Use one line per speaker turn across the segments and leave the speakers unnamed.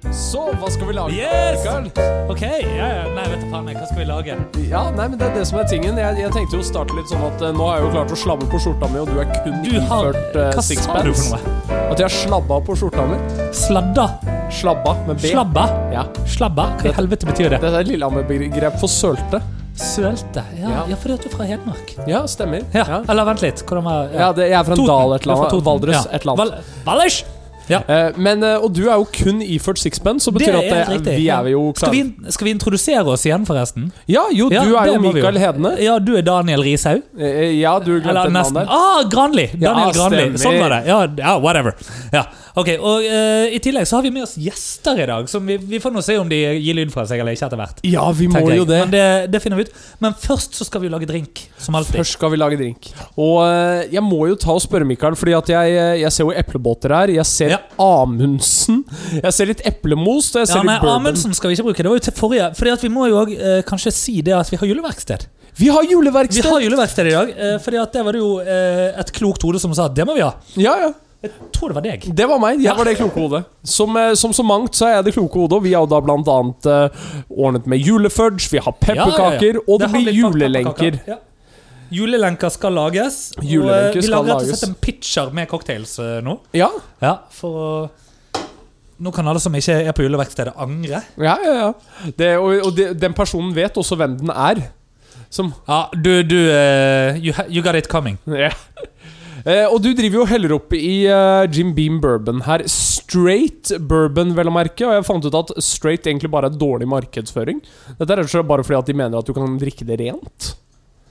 Hva skal vi lage?
Yes!
Carl?
OK. Ja, ja. Nei, vet du faen, jeg, hva skal vi lage?
Ja, nei, men det er det som er tingen. Jeg, jeg tenkte jo å starte litt sånn at eh, nå har jeg jo klart å slabbe på skjorta mi, og du er kun
Du har
iført eh,
Hva sa du
sixpence.
for noe?
At jeg har slabba på skjorta mi.
Sladda?
Slabba med B.
Slabba?
Ja.
Slabba? Hva i helvete betyr det?
Dette er et Lillehammer-begrep for sølte.
Sølte? Ja,
Ja.
ja fordi at du er fra Hedmark.
Ja, stemmer.
Ja. Eller vent litt. Hvordan var
Ja, det, jeg er fra en
Toten.
dal et
Du er
eller
fra
annet.
Toten.
Valdres
Ja.
et eller annet.
Val- Valdres! Ja.
Eh, men, eh, og du er jo kun iført sixpence, så betyr
Det
at
er
eh,
helt riktig.
vi er jo
Skal vi,
klare.
skal vi introdusere oss igjen, forresten?
Ja, jo, du
Ja,
er
det
jo
må vi
Mikael Hedne.
Ja, du er Daniel Rishaug.
Eh, Ja, du glemte
Eller
et navn
nesten.
der.
Ah, Granli!
Ja,
Daniel Granli.
stemmer.
Sånn var det. Ja, ja whatever. Ja, ok. Og eh, I tillegg så har vi med oss gjester i dag. Som vi, vi får nå se om de gir lyd fra seg eller ikke etter hvert.
Ja, vi må
tenker
jo
jeg.
det.
Men det, det finner vi ut. Men først så skal vi jo lage drink, som alltid.
Først skal vi lage drink. Og eh, jeg må jo ta og spørre Mikael, fordi at jeg, eh, jeg ser jo eplebåter her. Jeg ser
Ja.
Amundsen. Jeg ser litt eplemos, og jeg
Ja,
ser
nei,
litt bourbon.
Amundsen skal vi ikke bruke. Det var jo til forrige. Fordi at vi må jo også, eh, kanskje si det at vi har juleverksted.
Vi har
Vi
juleverksted!
har juleverksted i dag. Eh, fordi at det var det jo eh, et klokt hode som sa at det må vi ha.
Ja, ja.
Jeg tror det var deg.
Det var meg. Jeg var det kloke hodet. Som, eh, som så mangt så er jeg det kloke hodet, og vi har jo da blant annet eh, ordnet med julefudge, vi har pepperkaker, og det,
har
blir
litt bakt
julelenker.
pepperkaker, Ja. Julelenker skal lages.
Julelenker
og eh, vi
skal
lager rett og
lages.
slett en pitcher med cocktails eh, nå.
Ja,
Ja, for å Nå kan alle som ikke er på juleverkstedet, angre.
ja, ja. ja. Det, og og det, den personen vet også hvem den er. Som
Ja, du, du eh, you, ha- you got it coming.
Ja. Eh, og du driver jo og heller opp i eh, Jim Beam bourbon her. Straight bourbon, vel å merke. Og jeg fant ut at straight egentlig bare er dårlig markedsføring. Dette er rett og slett bare fordi at de mener at du kan drikke det rent.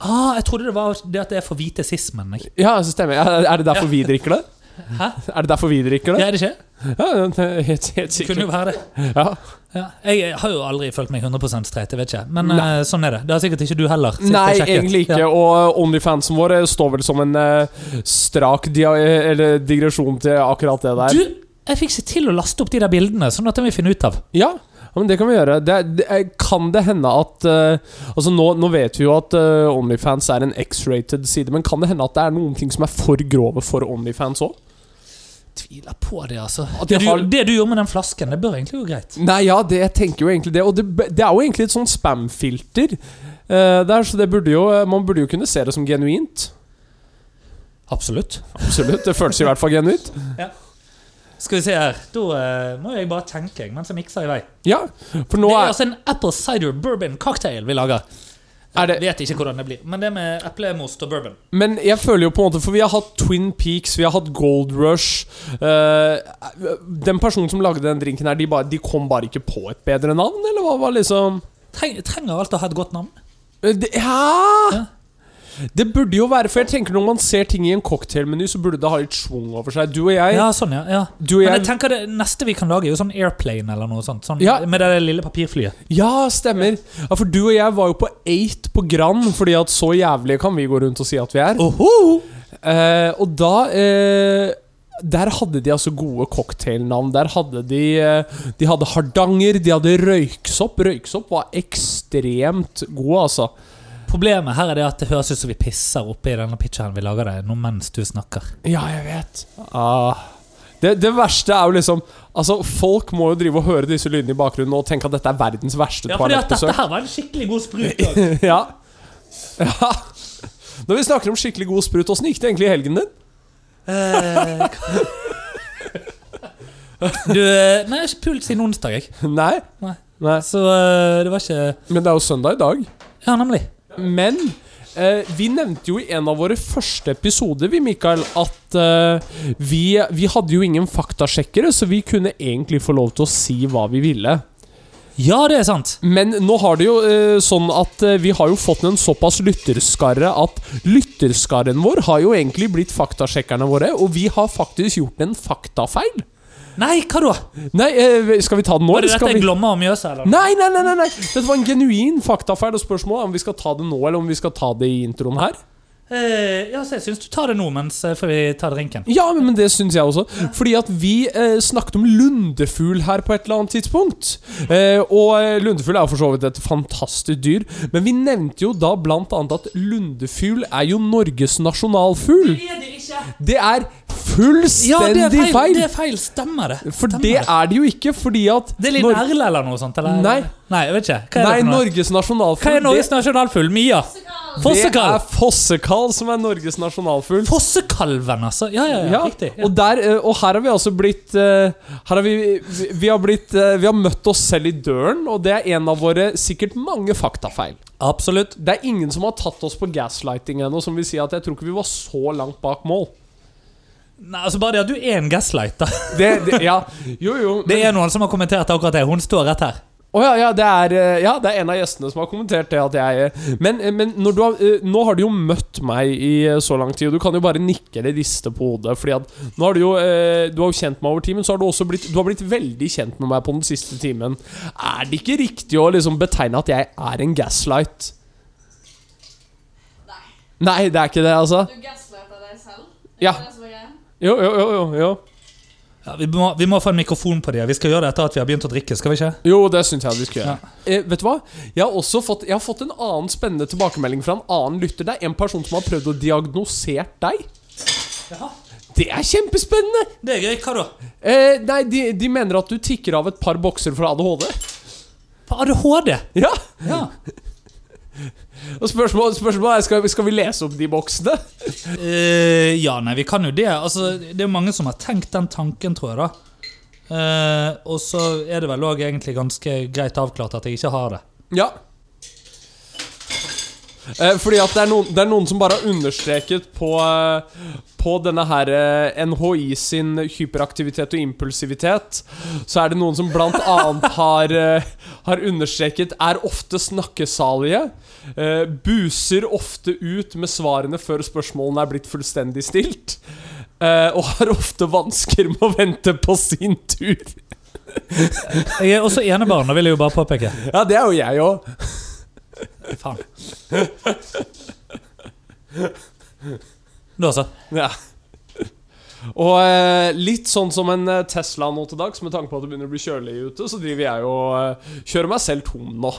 Ah, jeg trodde det var det at det er for hvite sismen. jeg.
Ja, så stemmer. Er er det derfor vi drikker det?
Hæ?
Er det derfor vi drikker det?
Ja, er det ikke?
Ja, det er helt, helt
Det kunne
sikkert.
jo være det.
Ja.
Ja. Jeg har jo aldri følt meg 100 streit, jeg vet ikke. Men
Nei.
eh, sånn er det. Det har sikkert ikke du heller. sist jeg
Nei,
sjekket.
egentlig ikke.
Ja.
Og eh, Onlyfansen vår står vel som en eh, strak dia eh, eller digresjon til akkurat det der.
Du, jeg fikk ikke til å laste opp de der bildene, sånn at det må vi finne ut av.
Ja, ja, men det kan vi gjøre. Det, det, kan det hende at eh, Altså nå, nå vet vi jo at eh, Onlyfans er en X-rated side, men kan det hende at det er noen ting som er for grove for Onlyfans òg?
Tviler på det, altså.
At
Det
jeg
du,
har-
det du gjorde med den flasken, det bør egentlig gå greit.
Nei, ja, det, jeg tenker jo egentlig det. Og det, det er jo egentlig et sånt spam-filter. eh, der, så det burde jo, man burde jo kunne se det som genuint.
Absolutt.
Absolutt. Det føles i hvert fall genuint.
Skal vi se her. Da eh, må jeg bare tenke jeg, mens jeg mikser i vei.
Ja, for nå
Det er
er,
altså en apple cider bourbon cocktail vi lager.
er det
Jeg vet ikke hvordan det blir, men det med eplemost og bourbon.
Men jeg føler jo på en måte For vi har hatt Twin Peaks, vi har hatt Gold Rush eh, Den personen som lagde den drinken her, de, bare, de kom bare ikke på et bedre navn, eller hva var liksom
Treng, trenger alt å ha et godt navn?
Eh, det, ja. Det burde jo være For jeg tenker når man ser ting i en cocktailmeny, så burde det ha litt schwung over seg. Du og jeg
Ja, sånn, ja. ja.
Du og
Men jeg
jeg,
tenker det neste vi kan lage, er jo sånn airplane eller noe sånt. Sånn,
Ja.
Med det der lille papirflyet.
ja, stemmer. Ja, For du og jeg var jo på eight på Grand, fordi at så jævlig kan vi gå rundt og si at vi er.
Oho!
Eh, og da eh, Der hadde de altså gode cocktailnavn. Der hadde de eh, De hadde Hardanger, de hadde Røyksopp. Røyksopp var ekstremt god, altså.
Problemet her er det at det høres ut som vi pisser oppi denne pitcheren vi lager det nå mens du snakker.
Ja, jeg vet. Ah. Det, det verste er jo liksom Altså, Folk må jo drive og høre disse lydene i bakgrunnen og tenke at dette er verdens verste
Ja, fordi at dette
toalettbesøk.
her var en skikkelig god sprut. da.
ja. ja. Når vi snakker om skikkelig god sprut, åssen gikk det egentlig i helgen din?
Eh, du, eh, nei, jeg har ikke pult siden onsdag, jeg.
Nei?
Nei.
Nei.
Så eh, det var ikke
Men det er jo søndag i dag.
Ja, nemlig.
Men eh, vi nevnte jo i en av våre første episoder, vi, Mikael, at eh, vi, vi hadde jo ingen faktasjekkere, så vi kunne egentlig få lov til å si hva vi ville.
Ja, det er sant.
Men nå har det jo eh, sånn at eh, vi har jo fått en såpass lytterskarre at lytterskaren vår har jo egentlig blitt faktasjekkerne våre, og vi har faktisk gjort en faktafeil.
Nei, hva da?
Nei, eh, skal vi ta den nå?
Var det
eller skal
dette
vi...
Glomma og Mjøsa, eller?
Nei, nei, nei, nei, nei! Dette var en genuin faktafeil, og spørsmålet er om vi skal ta det nå, eller om vi skal ta det i introen her.
Eh, ja, så jeg syns du tar det nå, mens eh, før vi tar drinken.
Ja, men men det syns jeg også. Fordi at vi eh, snakket om lundefugl her på et eller annet tidspunkt. Eh, og eh, lundefugl er jo for så vidt et fantastisk dyr, men vi nevnte jo da blant annet at lundefugl er jo Norges nasjonalfugl.
er det ikke.
Det er
Ja,
fullstendig
det er feil!
feil!
Det er feil, stemmer det.
For
stemmer
det er det jo ikke, fordi at
Det er Linn
Nor-
Erle eller noe sånt? Eller?
Nei.
Nei, jeg vet ikke. Hva er,
Nei,
det for noe?
Norges nasjonalfugl
Hva er Norges nasjonalfugl? Mia?
det, det er
Fossekall!
fossekall som er Norges nasjonalfugl.
Fossekalven, altså. Ja, ja, ja,
Ja,
riktig. Ja.
og, der, eh, og her har vi altså blitt eh, Her har vi vi, vi har blitt eh, Vi har møtt oss selv i døren, og det er en av våre sikkert mange faktafeil.
Absolutt.
Det er ingen som har tatt oss på gaslighting ennå, som vil si at jeg tror ikke vi var så langt bak mål.
Nei, altså Bare det at du er en gaslighter.
Det, det, ja, jo, jo.
Det
men-
er noen som har kommentert akkurat det. Hun står rett her.
Å ja, ja, det er, eh, ja, det er en av gjestene som har kommentert det. At jeg, eh, men eh, men når du har, eh, nå har du jo møtt meg i eh, så lang tid, og du kan jo bare nikke eller riste på hodet. Fordi at nå har du jo eh, Du har jo kjent meg over tid, men så har du også blitt Du har blitt veldig kjent med meg på den siste timen. Er det ikke riktig å liksom betegne at jeg er en gaslight?
Nei.
Nei, det er ikke det, altså?
Du gaslighter deg selv. Er
Ja.
det det som er greia?
Jo, jo, jo. Jo, jo.
Ja, vi, må, vi må få en mikrofon på dem. Vi skal gjøre det etter at vi har begynt å drikke. skal vi ikke?
jo det syns jeg vi skal gjøre. Eh, vet du hva? Jeg har også fått, jeg har fått en annen spennende tilbakemelding fra en annen lytter. Det er en person som har prøvd å diagnosere deg. Det er kjempespennende!
Det er gøy. Hva da?
Eh, nei, de, de mener at du tikker av et par bokser fra ADHD.
På ADHD?
Ja!
Ja.
Og spørsmålet, spørsmålet er skal, skal vi lese opp de boksene.
Eh, ja, nei, vi kan jo det. Altså, det er jo mange som har tenkt den tanken, tror jeg. da. Eh, og så er det vel òg egentlig ganske greit avklart at jeg ikke har det.
Ja. Eh, fordi at det er, noen, det er noen som bare har understreket på, eh, på denne her eh, NHI sin hyperaktivitet og impulsivitet, så er det noen som blant annet har, eh, har understreket er ofte snakkesalige, eh, buser ofte ut med svarene før spørsmålene er blitt fullstendig stilt, eh, og har ofte vansker med å vente på sin tur.
Jeg er også enebarn, og vil jeg jo bare påpeke.
Ja, det er jo jeg òg.
Faen. Da så.
Ja. Og eh, litt sånn som en eh, Tesla nå til dags, med tanke på at det begynner å bli kjølig ute, så driver jeg og eh, kjører meg selv tom nå.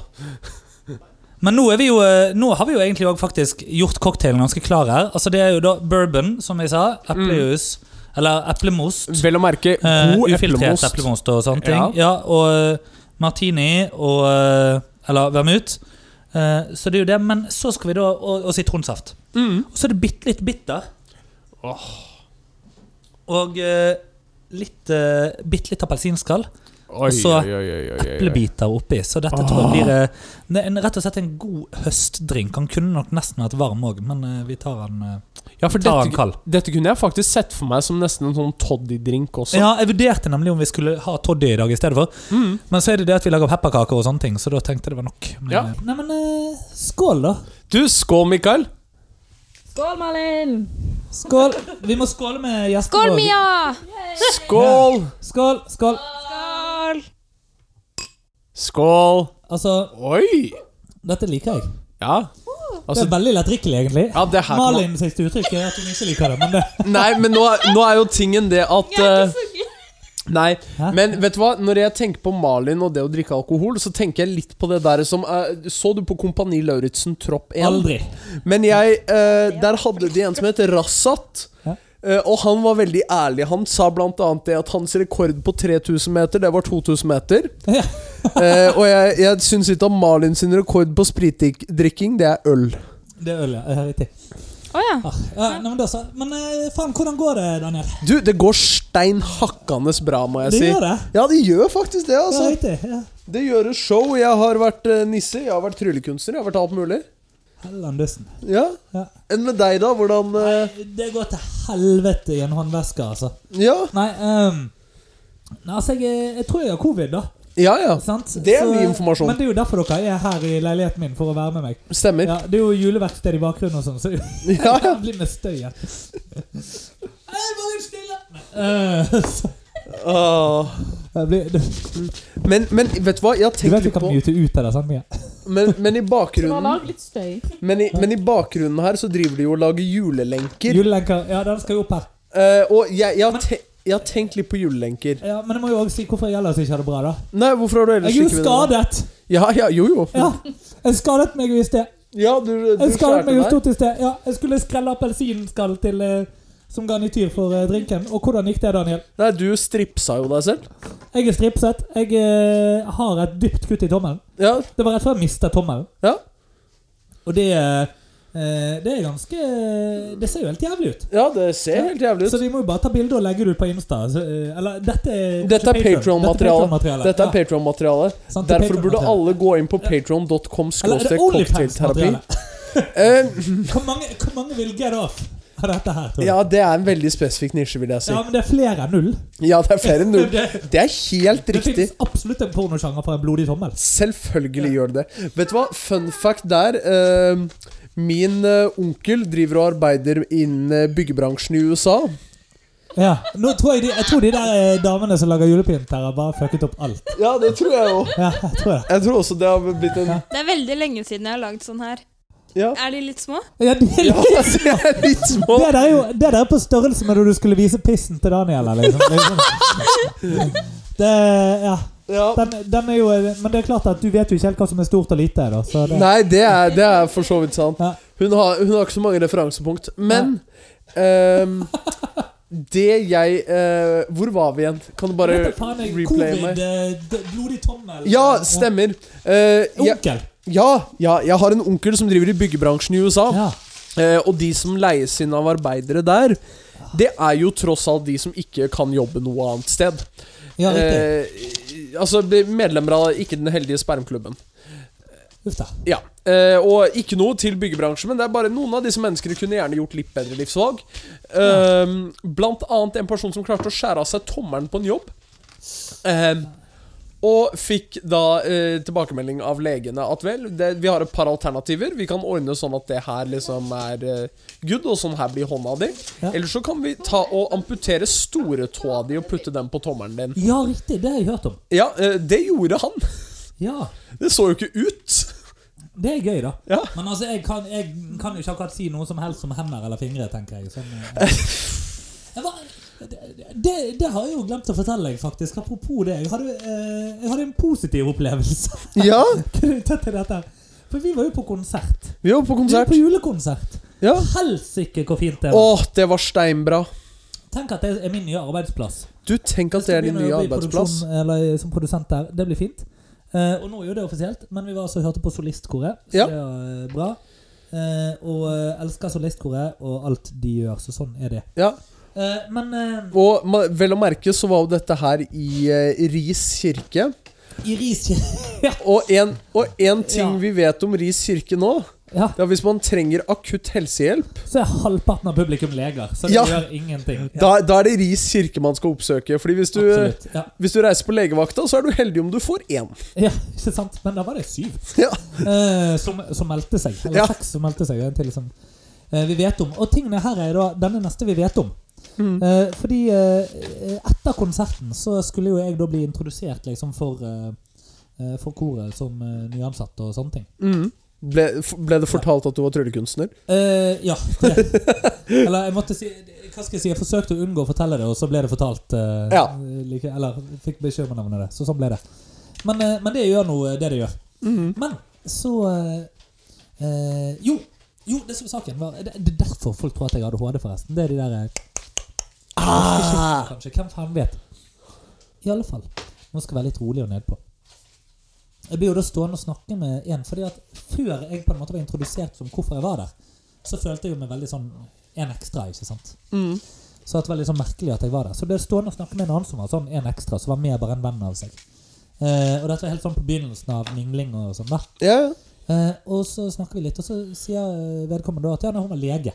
Men nå, er vi jo, eh, nå har vi jo egentlig også faktisk gjort cocktailen ganske klar her. Altså Det er jo da bourbon, som jeg sa. Eplejus. Eller eplemost.
Vel å merke
Eh,
Mm. god
ufiltrert
eplemost.
eplemost og sånne ting.
Ja.
Ja. og eh, martini og eh, Eller vermut. Eh, så det er jo det. Men så skal vi da Og, og sitronsaft.
Mm.
Og så er det bitte litt bitter. Og eh, litt eh, bitte litt appelsinskall.
Oi,
så
oi, oi, oi, oi, oi.
eplebiter oppi. Så dette tror
Ah.
jeg blir eh, ne- en, rett og slett en god høstdrink. Han kunne nok nesten vært varm òg, men eh, vi tar han, eh,
Ja, for
tar han
dette,
kald.
dette kunne jeg faktisk sett for meg som nesten en sånn toddy-drink også.
Ja, Jeg vurderte nemlig om vi skulle ha toddy i dag i stedet for.
Mm.
Men så er det det at vi lager pepperkaker og sånne ting, så da tenkte jeg det var nok. Men,
Ja.
eh, Nei, men eh, skål, da.
Du, skål, Mikael.
Skål, Malin!
Skål. Vi må skåle med gjestene.
Skål,
også.
Mia!
Skål!
Skål, skål.
Skål!
Skål.
Altså,
Oi!
dette liker jeg.
Ja.
Det
Altså,
er veldig lettdrikkelig, egentlig.
ja, det her kan man-
Malin sitt uttrykk er at hun ikke liker det, men det
Nei, men nå, er- nå er jo tingen det at eh, Nei,
Hæ?
men vet du hva? Når jeg tenker på Malin og det å drikke alkohol, så tenker jeg litt på det der som eh, Så du på Kompani Lauritzen Tropp 1?
Aldri.
Men jeg eh, Der hadde de en som het Rassat.
Ja.
Eh, og han var veldig ærlig. Han sa blant annet det at hans rekord på 3000 meter, det var 2000 meter.
Ja.
Eh, og jeg, jeg syns ikke at Malin sin rekord på spritdrikking, det er øl.
Det er øl, ja. Eh, Riktig.
Å ja.
Ah, ja, nei, men da så. Men eh, faen, hvordan går det, Daniel?
Du, det går stein hakkende bra, må jeg
Det
si.
gjør det.
Ja, det gjør faktisk det, altså.
Ja, riktig. Ja.
Det gjøres show. Jeg har vært eh, nisse, jeg har vært tryllekunstner, jeg har vært alt mulig.
Helland dussen.
Ja.
Ja.
Enn med deg, da? Hvordan eh,
Nei, Det går til helvete i en håndveske, altså.
Ja,
Nei, ehm, nei altså, jeg, jeg tror jeg har covid, da.
ja. ja.
Sant?
Det er mye informasjon.
Men det er jo derfor dere er her i leiligheten min, for å være med meg.
Stemmer.
Ja, Det er jo juleverksted i bakgrunnen og sånn, så
Ja, ja.
det blir med støy her. Hei, bare stille! Eh, så-
Åh.
det blir- Du
Men, men vet du hva, jeg har
du vet
tenkt
vi
litt
kan
på
mute ut av det, sant? Mia?
men, men, i bakgrunnen,
Lag litt støy.
men, i, men i bakgrunnen her så driver de jo og lager julelenker.
Julelenker. Ja, den skal jo opp her.
Eh, og jeg, jeg, har te, jeg har tenkt litt på julelenker.
Ja, Men jeg må jo også si hvorfor jeg ellers ikke har det bra, da.
Nei, hvorfor har du ellers
Jeg er jo
ikke venner?
skadet!
Ja, ja, jo, jo.
Ja, Jeg skadet meg jo i sted.
Ja, du, du
Jeg skadet
skjærte
meg jo
deg.
stort i sted. Ja, jeg skulle skrelle appelsinskall til eh, som garnityr for eh, drinken. Og hvordan gikk det, Daniel?
Nei, du stripsa jo deg selv.
Jeg er stripset. Jeg eh, har et dypt kutt i tommelen.
Ja,
Det var rett før jeg mistet tommelen.
ja,
Og det, eh, det er ganske eh, Det ser jo helt jævlig ut.
ja det ser helt jævlig
Så
ut.
vi må jo bare ta bilde og legge det ut på Insta. Så, eh, eller dette er
Dette er Patreon-materialet. Dette er
Ja,
Patreon-materialet.
sant, det er
Derfor burde
Patreon-materiale.
alle gå inn på patreon.com
Eller er det
skråstrek cocktailterapi.
Onlyfans-materiale? Hvor, mange- hvor mange vil get off av dette her, tror du?
Ja, det er en veldig spesifikk nisje, vil jeg si.
Ja, men det er flere enn null.
Ja, det er flere enn null.
Det,
Det er helt
det
riktig.
finnes absolutt en pornosjanger for en blodig tommel.
Selvfølgelig gjør det det. Vet du hva? Fun fact der. eh, min eh, onkel driver og arbeider innen eh, byggebransjen i USA.
Ja. Nå tror jeg, de, jeg tror de der eh, damene som lager julepynt her, har bare fucket opp alt.
Ja, det tror jeg òg.
Ja, jeg tror det.
Jeg tror også det har blitt en
Det er veldig lenge siden jeg har lagd sånn her.
Ja.
Er de litt små?
Ja, det, er
Ja,
litt-
altså, jeg er litt små.
det der er jo det der er på størrelse med når du skulle vise pissen til Daniel. eller Liksom. liksom. Det, ja.
Ja.
den, den er jo, men det er klart at du vet jo ikke helt hva som er stort og lite. Da, så det,
Nei, det er, det er for så vidt sant.
Ja.
Hun har, hun har ikke så mange referansepunkt. Men ehm, det jeg eh, Hvor var vi igjen? Kan du bare
Dette faen er
replaye
covid,
meg?
eh, d- blodig tommel
Ja, stemmer. Eh, ja,
Onkel.
ja, ja, jeg har en onkel som driver i byggebransjen i USA.
Ja.
Eh, og de som leies inn av arbeidere der, det er jo tross alt de som ikke kan jobbe noe annet sted.
ja, riktig.
Eh, altså blir medlemmer av Ikke den heldige spermklubben.
Uff da.
Ja. Eh, og ikke noe til byggebransjen, men det er bare noen av disse menneskene kunne gjerne gjort litt bedre livsvalg. Eh, Blant annet en person som klarte å skjære av seg tommelen på en jobb. Eh, og fikk da eh, tilbakemelding av legene at vel, det, vi har et par alternativer. Vi kan ordne sånn at det her liksom er eh, good, og sånn her blir hånda di.
Ja.
Eller så kan vi ta og amputere storetåa di og putte den på tommelen din.
Ja, riktig. Det har jeg hørt om.
Ja, eh, det gjorde han.
Ja,
Det så jo ikke ut.
Det er gøy, da.
Ja.
Men altså, jeg kan, jeg kan jo ikke akkurat si noe som helst om hender eller fingre, tenker jeg. Sånn, eh. jeg var, det, det har jeg jo glemt å fortelle deg, faktisk. Apropos det. Jeg hadde, eh, jeg hadde en positiv opplevelse
Ja,
knyttet til dette. For vi var jo på konsert.
vi var på
Vi var
konsert.
på julekonsert.
Ja.
Helsike, hvor fint det
Åh,
var.
det var steinbra.
Tenk at det er min nye arbeidsplass.
Du, tenk at det er din nye
Begynner å bli
arbeidsplass.
produksjon- Eller, som produsent der. Det blir fint. Eh, og nå er jo det offisielt, men vi var altså og hørte på solistkoret, så
Ja.
det var eh, bra. Eh, og eh, elsker solistkoret og alt de gjør, så sånn er det.
Ja,
Eh, men eh,
Og ma- vel å merke så var jo dette her i eh, Ris kirke.
i Ris ja.
Og en, og en ting
Ja.
vi vet om Ris kirke nå,
ja,
det er hvis man trenger akutt helsehjelp,
så er halvparten av publikum leger, så det
Ja.
gjør ingenting. Ja,
da, da er det Ris kirke man skal oppsøke. Fordi hvis du,
absolutt. Ja.
hvis du reiser på legevakta, så er du heldig om du får én.
ja, ikke sant? Men da var det syv
Ja.
eh, som, som meldte seg. Eller
Ja.
seks som meldte seg. og En til som eh, vi vet om. Og tingene her er da denne neste vi vet om.
Mm.
Eh, fordi eh, etter konserten så skulle jo jeg da bli introdusert liksom for eh, eh, for koret som eh, nyansatt og sånne ting.
Mhm. Ble, f- ble det fortalt at du var tryllekunstner?
Eh, ja. Det. Eller jeg måtte si Hva skal jeg si? Jeg forsøkte å unngå å fortelle det, og så ble det fortalt. eh,
Ja.
like, eller fikk beskjed om å nevne det. Så sånn ble det. Men, eh, men det gjør nå eh, det det gjør. Men så eh, eh, Jo, jo, det som var saken var Det det er derfor folk tror at jeg har ADHD, forresten. Det er de der eh, kjeften, Kanskje. Hvem faen vet? I alle fall. Nå skal jeg være litt rolig og nedpå. Jeg blir jo da stående og snakke med en, fordi at før jeg på en måte var introdusert som hvorfor jeg var der, så følte jeg jo meg veldig sånn en ekstra, ikke sant? Så at det var litt sånn merkelig at jeg var der. Så ble jeg stående og snakke med en annen som var sånn en ekstra, som var mer bare en venn av seg. Eh, og dette var helt sånn på begynnelsen av mingling og sånn da.
Ja,
Eh, og så snakker vi litt, og så sier eh, vedkommende da at ja, nei, hun var lege.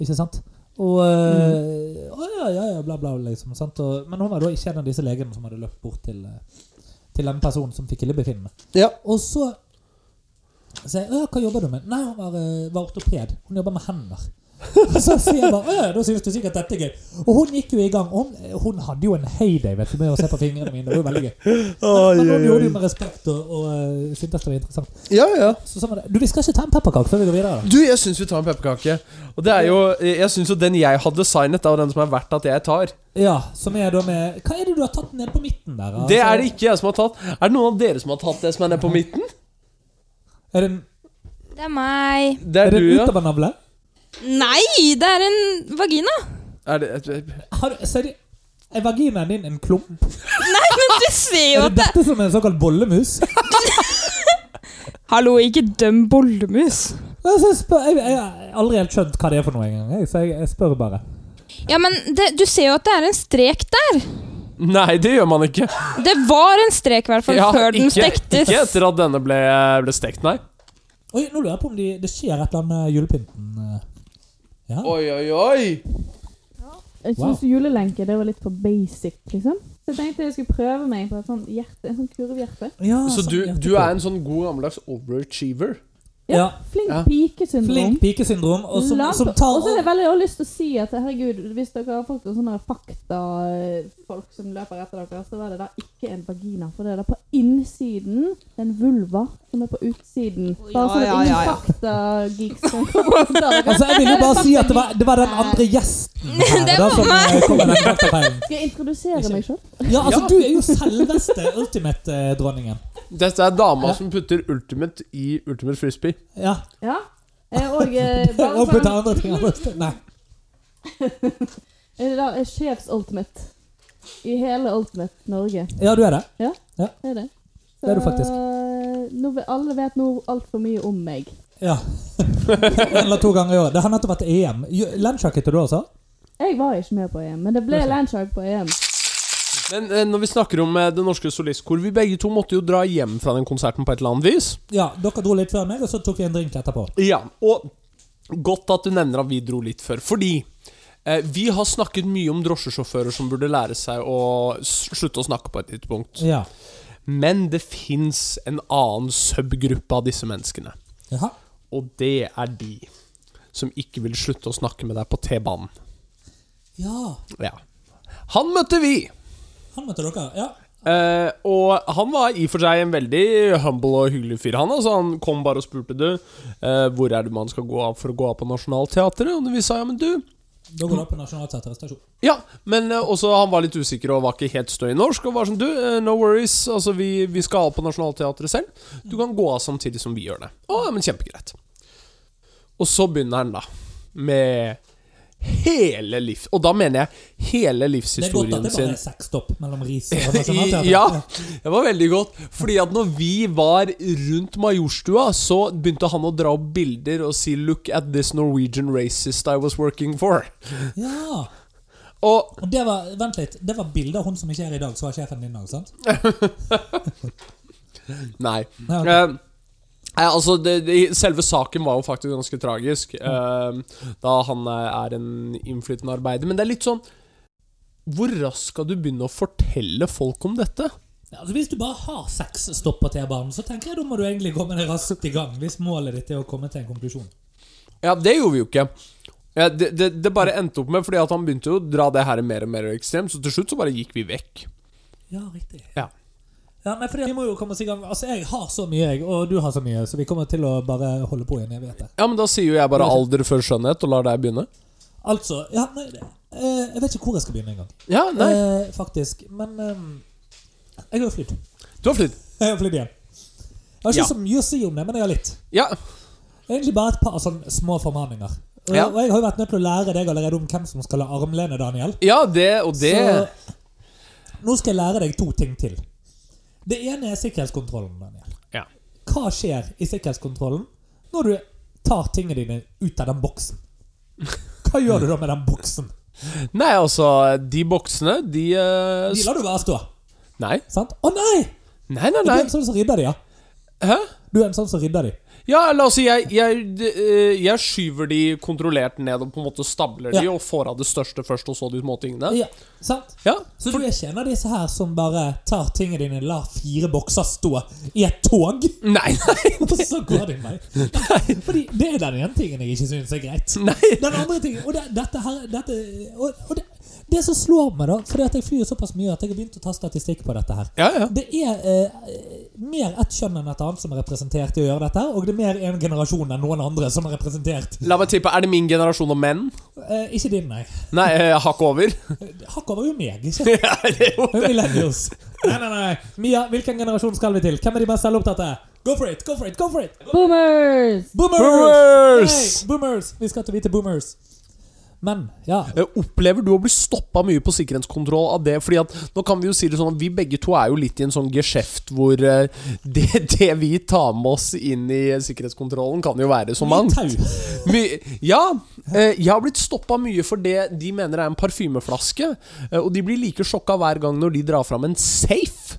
Ikke sant? Og eh, å, ja, ja, ja, bla, bla, liksom. Sant? Og, men hun var da ikke en av disse legene som hadde løpt bort til, eh, til den personen som fikk illebefinnende.
ja.
Og så sier jeg, «Å ja, hva jobber du med? Nei, hun var, eh, var ortoped. Hun jobber med hender. Og så sier jeg bare, «Å ja, da synes du sikkert dette er gøy. Og hun gikk jo i gang. Hun, hun hadde jo en heyday vet du, med å se på fingrene mine. Det var jo veldig gøy. Men, men hun gjorde det jo med respekt og, og eh, syntes det var interessant.
ja, ja.
Så sa man det. Du, vi skal ikke ta en pepperkake før vi går videre. da.
Du, jeg syns vi tar en pepperkake. Og det er jo, jeg syns jo den jeg har designet, er jo den som er verdt at jeg tar.
Ja, som er da med Hva er det du har tatt ned på midten der? altså?
Det er det ikke jeg som har tatt. Er det noen av dere som har tatt det som er nede på midten?
Er det, en-
Det er meg.
Det
er
er
det
du,
en
ja.
utavernavle?
Nei, det er en vagina!
Er det
Har du, ser du, er vaginaen din en klump?
Men du ser
Er
jo at
det
det
dette som er en såkalt bollemus?
Hallo, ikke døm bollemus.
Altså, jeg, spør, jeg, jeg har aldri helt skjønt hva det er for noe engang, jeg, så jeg, jeg spør bare.
Ja, men det, du ser jo at det er en strek der.
Nei, det gjør man ikke.
Det var en strek, i hvert fall,
Ja,
før den
ikke,
stektes.
Ikke etter at denne ble, ble stekt, nei.
Oi, nå lurer jeg på om de, det skjer et eller annet med julepynten. eh. Ja.
Oi, oi, oi!
Jeg
Wow.
syns julelenke det var litt for basic, liksom. Så jeg tenkte jeg skulle prøve meg på et sånt hjerte, en sånn kurvhjerte.
Ja,
Så
sånn,
du,
ja,
du er en sånn god gammeldags overachiever?
Ja.
ja.
Flink
Ja.
pike-syndrom.
Flink pikesyndrom, og som,
Lamp-
som tar
Og så er det veldig jeg har lyst til å si at herregud, hvis dere har fått noen sånne faktafolk som løper etter dere, så var det da ikke en vagina. For det er da på innsiden det er en vulva som er på utsiden. Bare sånn at
ja,
ingen
ja, ja.
faktageeks kan komme og ta dere.
Altså, jeg vil jo bare si at det var, det var den andre gjesten her.
Det
da,
var
som
meg.
eh, kom med den faktafeilen.
Skal jeg introdusere meg sjøl?
Ja, altså, du er jo selveste eh, Ultimate-dronningen.
Dette er dama
Ja.
som putter Ultimate i Ultimate Frisbee.
Ja.
Ja. Eh, Og eh, bare
Og på det
sånn
andre ting andre sted. Nei.
Er det da er sjefs-ultimate i hele Ultimate Norge?
Ja, du er det.
Det er det.
Det er du faktisk.
Så, Nå, vet- alle vet nå altfor mye om meg.
Ja. En eller to ganger i året. Det har nettopp vært E EM. Jo- Landsjakk heter du også?
Jeg var ikke med på EM, men det ble
Hvorfor?
landshark på EM.
Men eh, når vi snakker om eh, Det Norske Solistkor Vi begge to måtte jo dra hjem fra den konserten på et eller annet vis.
Ja, dere dro litt før meg, og så tok vi en drink etterpå.
Ja, og godt at du nevner at vi dro litt før, fordi eh, vi har snakket mye om drosjesjåfører som burde lære seg å s- slutte å snakke på et tidspunkt.
Ja.
Men det fins en annen subgruppe av disse menneskene,
Jaha.
og det er de som ikke vil slutte å snakke med deg på T-banen.
Ja.
Ja. Han møtte vi!
Han møtte dere. Ja.
Eh, og han var i og for seg en veldig humble og hyggelig fyr. Han altså, han kom bare og spurte du, eh, hvor er det man skal gå av for å gå av på Nationaltheatret. Og vi sa ja, men du,
Da går du opp på Nationaltheatret stasjon.
Ja, men eh, også han var litt usikker og var ikke helt støy norsk. Og var sånn Du, eh, no worries. Altså, vi, vi skal av på Nationaltheatret selv. Du kan gå av samtidig som vi gjør det. Å, ja, men kjempegreit. Og så begynner han, da, med hele liv... Og da mener jeg hele
Det er godt
livshistorien
at det bare
sin.
er seks stopp mellom Ris og
I,
Nationaltheatret.
ja, det var veldig godt. Fordi at når vi var rundt Majorstua, så begynte han å dra opp bilder og si 'Look at this Norwegian racist I was working for'.
ja.
Og
Og det var, vent litt, det var bildet av hun som ikke er i dag, som var sjefen din òg, sant?
Nei.
Nei, ok.
Eh, Nei, altså, det, det, selve saken var jo faktisk ganske tragisk, eh, da han eh, er en innflyttende arbeider. Men det er litt sånn Hvor raskt skal du begynne å fortelle folk om dette?
Ja, altså Hvis du bare har seks stopp på T-banen, så tenker jeg da må du egentlig komme deg raskt i gang. Hvis målet ditt er å komme til en konklusjon.
Ja, det gjorde vi jo ikke. Ja, det, det, det bare endte opp med Fordi at han begynte jo å dra det her mer og mer ekstremt, så til slutt så bare gikk vi vekk.
Ja, riktig.
Ja.
Ja, nei, fordi Vi må jo komme oss i gang. Altså, Jeg har så mye, jeg, og du har så mye, så vi kommer til å bare holde på i en evighet. der.
ja, men da sier jo jeg bare alder før skjønnhet, og lar deg begynne.
Altså ja, nei, det- eh, Jeg vet ikke hvor jeg skal begynne engang,
Ja, nei.
eh, faktisk. Men eh, jeg har jo flydd.
Eh, Du har flydd.
Jeg har flydd igjen. Jeg har ikke
Ja.
så mye å si om det, men jeg har litt.
Ja.
Egentlig bare et par sånne små formaninger. Og,
Ja.
og jeg har jo vært nødt til å lære deg allerede om hvem som skal ha armlene, Daniel.
ja, det og det
Så nå skal jeg lære deg to ting til. Det ene er sikkerhetskontrollen. Daniel.
Ja.
Hva skjer i sikkerhetskontrollen når du tar tingene dine ut av den boksen? Hva gjør du da med den boksen?
Nei, altså, de boksene, de, eh,
De
s-
lar du bare stå.
Nei.
Sant? Å nei!
Nei, nei,
Du er
nei.
en sånn som rydder de, ja.
Hæ?
Du er en sånn som rydder de.
Ja, la oss si jeg, jeg, d- eh, jeg skyver de kontrollert ned og på en måte stabler de
Ja.
og får av det største først, og så de små tingene.
Ja, sant?
Ja.
Så du er ikke en av disse her som bare tar tingene dine, lar fire bokser stå i et tog,
Nei, nei,
og så går de meg? Fordi det er den ene tingen jeg ikke syns er greit.
nei.
Den andre tingen Og det, dette her dette, og, og det, det som slår meg, da Fordi at jeg flyr såpass mye at jeg har begynt å ta statistikk på dette her.
Ja, ja.
Det er eh, mer ett kjønn enn et annet som er representert i å gjøre dette, her, og det er mer en generasjon enn noen andre som er representert.
La meg tippe, er det min generasjon av menn?
Eh, ikke din, nei.
Nei, eh, hakk over.
Hakk over jo meg, ikke
Ja, det er jo-
Millennials. Nei, nei, nei. Mia, hvilken generasjon skal vi til? Hvem er de mest selvopptatte? Go for it! Go for it! Go for it!
Boomers!
Boomers!
Boomers!
Hey, boomers! Vi skal til hvite boomers. Men, ja.
Eh, Opplever du å bli stoppa mye på sikkerhetskontroll av det? Fordi at, nå kan Vi jo si det sånn at vi begge to er jo litt i en sånn geskjeft hvor eh, det, det vi tar med oss inn i sikkerhetskontrollen, kan jo være så mangt.
Tau.
My, ja, eh, jeg har blitt stoppa mye for det de mener er en parfymeflaske. eh, og de blir like sjokka hver gang når de drar fram en safe.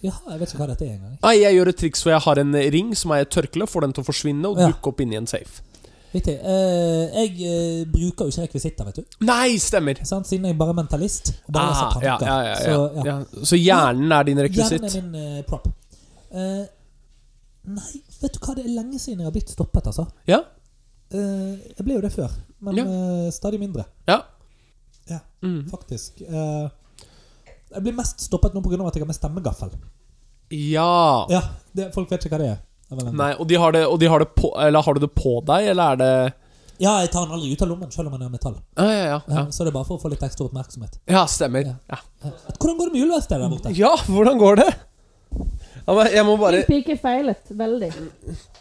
Ja, jeg vet ikke hva dette er engang.
Nei, jeg gjør et triks hvor jeg har en ring som er i et tørkle, får den til å forsvinne og
Ja.
dukke opp inni en safe.
Riktig. Eh, jeg eh, bruker jo ikke rekvisitter, vet du.
Nei, stemmer!
Sant? Siden jeg bare er mentalist. Og bare leser
Ah, ja,
tanker.
ja, ja, ja.
Så, ja.
ja. Så hjernen er din rekvisitt?
Hjernen er min eh, prop. Eh, nei, vet du hva, det er lenge siden jeg har blitt stoppet, altså.
Ja.
Eh, jeg ble jo det før, men
Ja.
eh, stadig mindre,
ja. Mm.
faktisk. Eh, jeg blir mest stoppet nå pga. at jeg har med stemmegaffel.
Ja.
Ja, det, Folk vet ikke hva det er. av en eller annen
Nei, og de har det, og de har det på Eller har du det på deg, eller er det
grunn. Ja, jeg tar den aldri ut av lommen, selv om den er av metall.
Ja, ja, ja.
Eh,
Ja,
Så det er bare for å få litt ekstra oppmerksomhet.
ja stemmer. Ja.
Eh, hvordan går det med juleverkstedet der borte?
ja, hvordan går det? Ja, men jeg må bare
Min pike feilet veldig.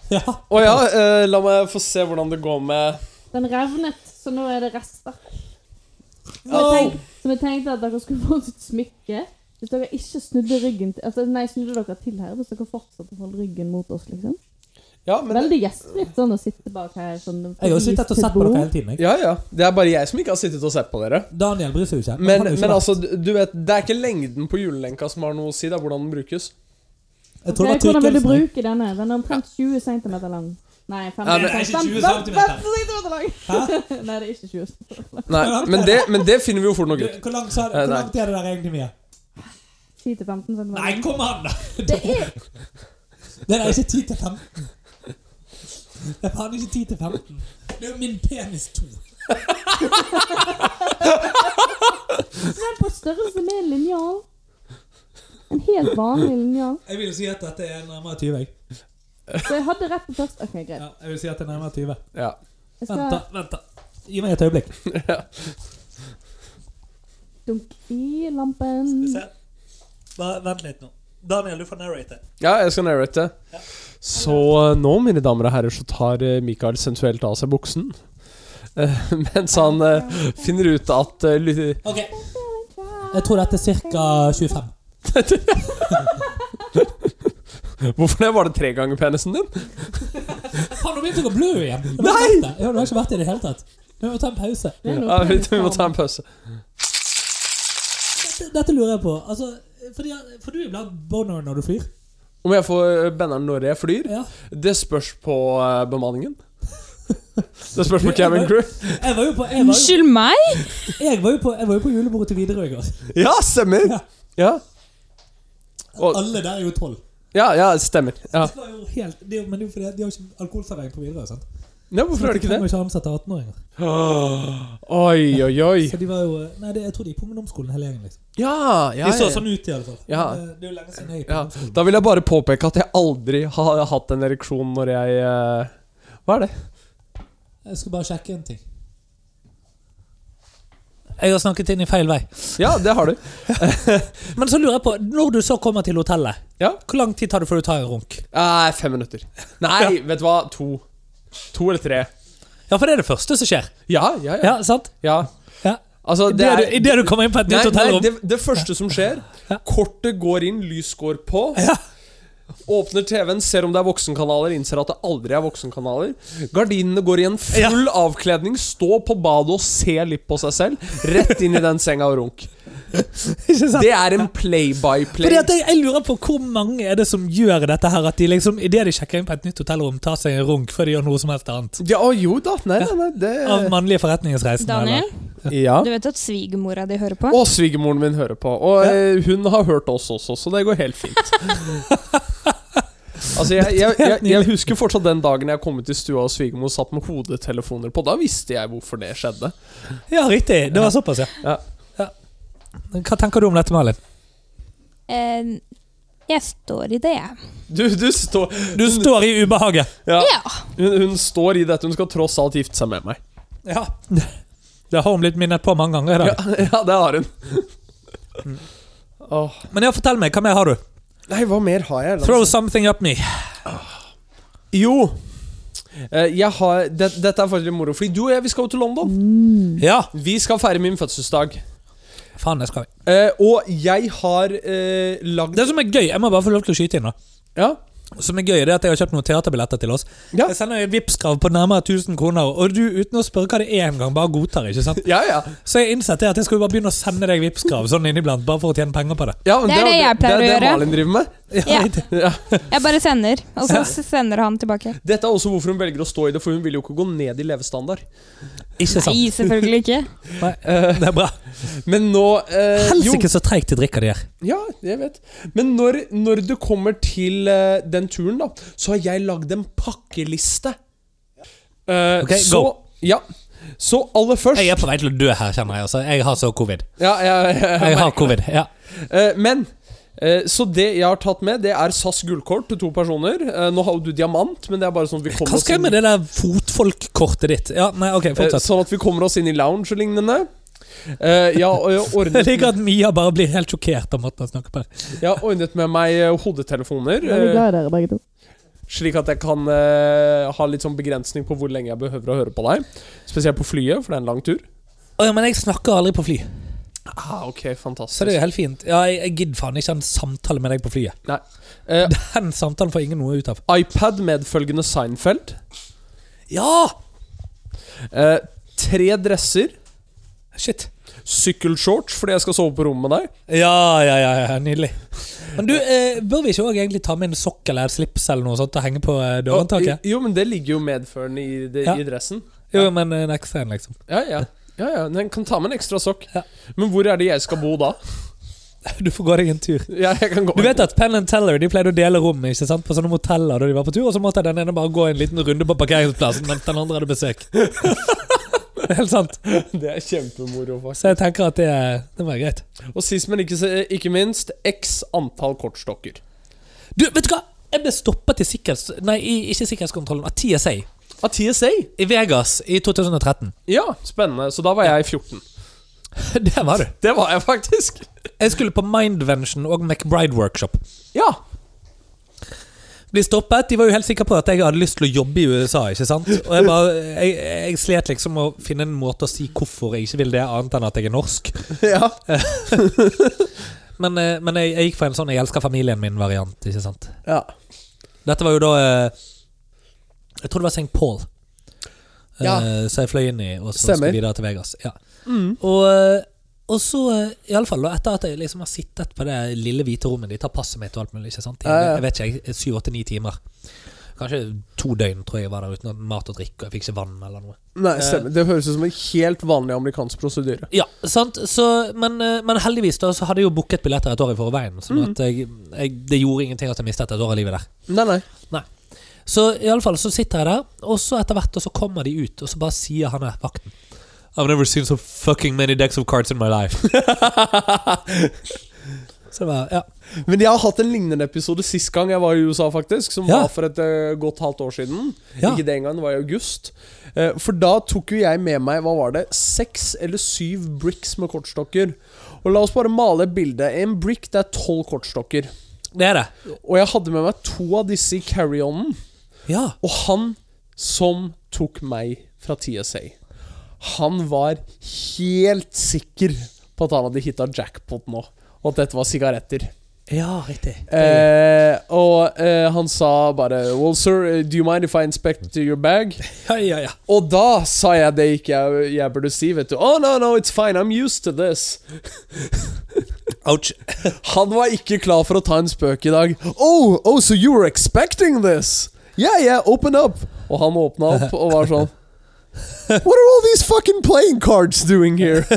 Ja,
Å ja, eh, la meg få se hvordan det går med
Den revnet, så nå er det rester. Som jeg,
Au!
tenk, som jeg tenkte at dere skulle fått et smykke. Hvis dere ikke snudde ryggen til altså, Nei, snudde dere til her hvis dere fortsatte å holde ryggen mot oss, liksom.
Ja, men
Veldig gjestfritt sånn å sitte bak her. Sånn,
Jeg har jo sittet og sett på dere hele tiden. Jeg.
Ja, ja. Det er bare jeg som ikke har sittet og sett på dere.
Daniel bryr seg jo ikke. men
Men,
han er jo ikke
men
der.
altså, du du vet, det er ikke lengden på julelenka som har noe å si, det er hvordan den brukes.
jeg tror
Ok,
det var
Hvordan vil du
tykkelsen, jeg.
bruke denne? Den er omtrent 20 cm lang. Nei, 15
Ja, det er
ikke 20
cm.
centimeter.
lang!
Hæ?
Nei, det er ikke 20 cm.
Nei, men det, men det finner vi jo fort nok ut.
Hvor langt, sa-
Eh,
hvor
nei.
langt er det der egentlig, Mia?
10-15 cm.
Nei, kom an! da.
Det er
Det er ikke 10 til 15. Det er faen ikke 10 til 15. Det er jo min penis 2.
den på størrelse med en linjal. En helt vanlig linjal.
Jeg vil si at dette er nærmere 20. Jeg,
Så jeg hadde rett på først. Ok, greit.
ja, jeg vil si at det er nærmere 20.
Ja.
Vent,
Jeg skal
da. vent da. Gi meg et øyeblikk.
dunke i lampen.
Bare vent litt nå. Daniel, du får narrate.
Ja, jeg skal narrate det. Så eh, nå, mine damer og herrer, så tar eh, Mikael sensuelt av seg buksen. Eh, Mens han eh, finner ut at eh, ly-
Ok. Jeg tror dette er ca. 25.
Hvorfor det? Var det tre ganger penisen din?
Faen, nå begynte jeg å blø igjen. Jeg har vært der. Ja, du har ikke vært det i det hele tatt. Vi må ta en pause.
Det er noe
Ja, vi,
felles
vi må
sammen.
ta en pause.
Dette, dette lurer jeg på. Altså, fordi, for du iblant boner når du flyr.
Om jeg får eh, benneren når jeg flyr?
Ja.
Det spørs på eh, bemanningen. Det spørs på cabin crew.
Jeg var jo på, jeg var jo,
Unnskyld meg?
jeg var jo på, jeg var jo på julebordet til Widerøe i går.
Ja, stemmer! Ja, Og-
Alle der er jo tolv.
ja, ja stemmer. Ja.
Det var jo helt, det er jo, men det er jo fordi de har ikke alkoholservering på Widerøe. sant?
ja, hvorfor er det
de
ikke
kan jo
det?
ikke ansette 18-åringer.
Oi, oi, oi.
Så de var jo Nei, det, jeg tror de gikk på ungdomsskolen hele gjengen. liksom
Ja, ja,
De så
ja.
sånn ut, i alle fall.
Ja.
Men, eh, Det er jo lenge siden jeg gikk på
Ja,
ungdomsskolen.
da vil jeg bare påpeke at jeg aldri har hatt en ereksjon når jeg eh, Hva er det?
Jeg skal bare sjekke en ting. Jeg har snakket inn i feil vei.
Ja, det har du.
Men så lurer jeg på, når du så kommer til hotellet,
Ja.
hvor lang tid tar det før du tar en runk?
Nei, fem minutter. Nei, vet du hva? To. To eller tre.
Ja, for det er det første som skjer.
Ja, ja, ja.
Ja, sant?
ja.
Ja.
Altså, det
Idet
er
du, i det du kommer inn på et
Nei,
nytt
nei
hotellrom.
det, det første som skjer Kortet går inn, lys går på.
Ja.
Åpner TV-en, ser om det er voksenkanaler, innser at det aldri er voksenkanaler. Gardinene går i en full avkledning, stå på badet og se litt på seg selv. Rett inn i den senga og runk.
Ikke sant?
Det er en play-by-play.
Fordi at jeg, jeg lurer på Hvor mange er det som gjør dette her at de liksom idet de sjekker inn på et nytt hotellrom, tar seg en runk før de gjør noe som helst annet?
Ja, å, jo da. Nei, nei, nei det
Av mannlige forretningsreisende?
Daniel,
Ja.
du vet at svigermora di hører på?
Og svigermoren min hører på. Og eh, hun har hørt oss også, så det går helt fint. Altså, jeg, jeg, jeg, jeg husker fortsatt den dagen jeg kom ut i stua og svigermor satt med hodetelefoner på. Da visste jeg hvorfor det skjedde.
Eller? Ja, riktig. Det var såpass, ja.
Ja.
Ja. Hva tenker du om dette, Malin?
Eh, jeg står i det, jeg.
Du, du står
Du står i ubehaget.
ja,
Ja.
hun, hun står i dette. Hun skal tross alt gifte seg med meg.
Ja. Det har hun blitt minnet på mange ganger i
Ja,
dag.
ja det har hun. Åh.
Men ja, fortell meg, hva mer har du?
Nei, hva mer har jeg? La meg
Throw
se.
something up me.
Jo. Eh, Jeg har, det, dette er faktisk litt moro, fordi du og jeg vi skal jo til London.
Ja,
Vi skal feire min fødselsdag.
faen, det skal vi.
Eh, og jeg har eh, lagd
Det som er gøy, jeg må bare få lov til å skyte inn, da.
Ja.
Som er gøy, det er at jeg har kjøpt noen teaterbilletter til oss.
Ja.
Jeg sender et Vipps-krav på nærmere 1000 kroner, og du uten å spørre hva det er engang, bare godtar, ikke sant?
Ja, ja.
Så jeg innsett det at jeg skal jo bare begynne å sende deg Vipps-krav sånn inniblant, bare for å tjene penger på det.
ja men
Det er det jeg pleier
det, er
å
Det
gjøre.
Malin driver med.
Ja.
litt.
Ja.
Jeg bare sender, og så s- sender han tilbake.
Dette er også hvorfor hun velger å stå i det, for hun vil jo ikke gå ned i levestandard.
Ikke sant?
Nei, selvfølgelig ikke.
Det er bra.
Men nå eh, jo,
Helsike, så treigt de drikker, de her.
Ja, jeg vet. Men når, når du kommer til eh, den turen, da, så har jeg lagd en pakkeliste. Eh,
Ok,
så,
go.
Ja. Så aller først
Jeg er på vei til å dø her, kjenner jeg. Altså. Jeg har så covid.
Ja, ja, ja, ja.
Jeg har covid, ja.
Eh, Men eh, så det jeg har tatt med, det er SAS gullkort til to personer. Eh, Nå har jo du diamant, men det er bare sånn at vi kommer
Hva
oss
skal jeg
inn,
med det der fotfolkkortet ditt? Ja, nei, ok,
eh,
fortsett.
sånn at vi kommer oss inn i lounge og lignende. Eh, Jeg har jeg har
Jeg
ordnet,
liker at Mia bare blir helt sjokkert av måten han snakker på.
jeg har ordnet med meg eh, hodetelefoner,
Jeg er
eh,
glad i dere begge to.
slik at jeg kan eh, ha litt sånn begrensning på hvor lenge jeg behøver å høre på deg. Spesielt på flyet, for det er en lang tur.
Å ja, men jeg snakker aldri på fly,
Ah, ok, fantastisk
så det er jo helt fint. Ja, jeg, jeg gidder faen ikke ha en samtale med deg på flyet.
Eh,
Den samtalen får ingen noe ut av.
iPad medfølgende Seinfeld.
Ja!
Eh, tre dresser.
Shit.
Sykkelshorts fordi jeg skal sove på rommet med deg.
Ja, ja, ja, ja nydelig. Men du, eh, bør vi ikke også egentlig ta med en sokk eller et slips eller noe sånt og henge på eh, dørhåndtaket?
Og- Jo, men det ligger jo medførende i, det,
Ja.
i dressen.
Jo, men eh, en ekstra en, liksom.
Ja, ja. Ja, ja, Den kan ta med en ekstra sokk.
Ja.
Men hvor er det jeg skal bo da?
Du får gå deg en tur.
Ja, jeg kan gå
Du vet at Penn and Teller de pleide å dele rom ikke sant? på sånne moteller da de var på tur, og så måtte den ene bare gå en liten runde på parkeringsplassen mens den andre hadde besøk. Det er Helt sant.
Det er kjempemoro, faktisk.
Så jeg tenker at det, det var greit.
Og sist, men ikke, se- ikke minst, x antall kortstokker.
Du, vet du hva? Jeg ble stoppet i sikkerhets... Nei, i, ikke sikkerhetskontrollen, av TSA.
Av TSA?
I Vegas i 2013.
Ja, spennende. Så da var jeg 14.
Der var du.
Det var jeg faktisk.
Jeg skulle på Mindvention og McBride-workshop.
Ja.
Bli stoppet, De var jo helt sikre på at jeg hadde lyst til å jobbe i USA. ikke sant? Og Jeg, bare, jeg, jeg slet liksom med å finne en måte å si hvorfor jeg ikke vil det, annet enn at jeg er norsk.
ja.
Men, eh, men jeg, jeg gikk for en sånn 'jeg elsker familien min'-variant. ikke sant?
Ja.
Dette var jo da eh, Jeg tror det var St. Paul. Eh,
Ja.
Så jeg fløy inn i og så
Stemmer.
skulle videre til Vegas. Ja.
Mm.
Og, eh, og så, eh, iallfall etter at jeg liksom har sittet på det lille hvite rommet De tar passet mitt og alt mulig. ikke sant? I,
Ja, ja.
Jeg vet ikke, jeg, syv, åtte, ni timer. Kanskje to døgn tror jeg jeg var der uten mat og drikke, og jeg fikk ikke vann eller noe.
Nei, stemmer. Det høres ut som en helt vanlig amerikansk prosedyre.
Ja, sant? Så, men, eh, men heldigvis da, så hadde jeg jo booket billetter et år i forveien. Sånn at jeg, jeg, det gjorde ingenting at jeg mistet et år av livet der.
Nei, nei.
Så i alle fall så sitter jeg der, og så etter hvert og så kommer de ut, og så bare sier han der vakten I've never seen so fucking many decks of cards in my life. så det var, ja.
Men jeg har hatt en lignende episode sist gang jeg var i USA, faktisk. Som
Ja.
var for et eh, godt halvt år siden.
Ja.
Ikke den gangen, det var i august. Eh, for da tok jo jeg med meg hva var det, seks eller syv bricks med kortstokker. Og la oss bare male et bilde. En brick det er tolv kortstokker.
Det er det.
Og jeg hadde med meg to av disse i carry-onen.
Ja.
Og han som tok meg fra TSA, han var helt sikker på at han hadde hitta jackpot nå. Og at dette var sigaretter.
Ja, riktig.
Eh, og eh, han sa bare Well, sir, eh, do you mind if I inspect your bag?
Ja, ja, ja.
Og da sa jeg det ikke jeg, jeg burde si, vet du. Oh, no, no, it's fine, I'm used to this.
Ouch.
Han var ikke klar for å ta en spøk i dag. Oh, oh, so you were expecting this? Yeah, yeah, open up. Og han åpna opp og var sånn What are all these fucking playing cards doing here?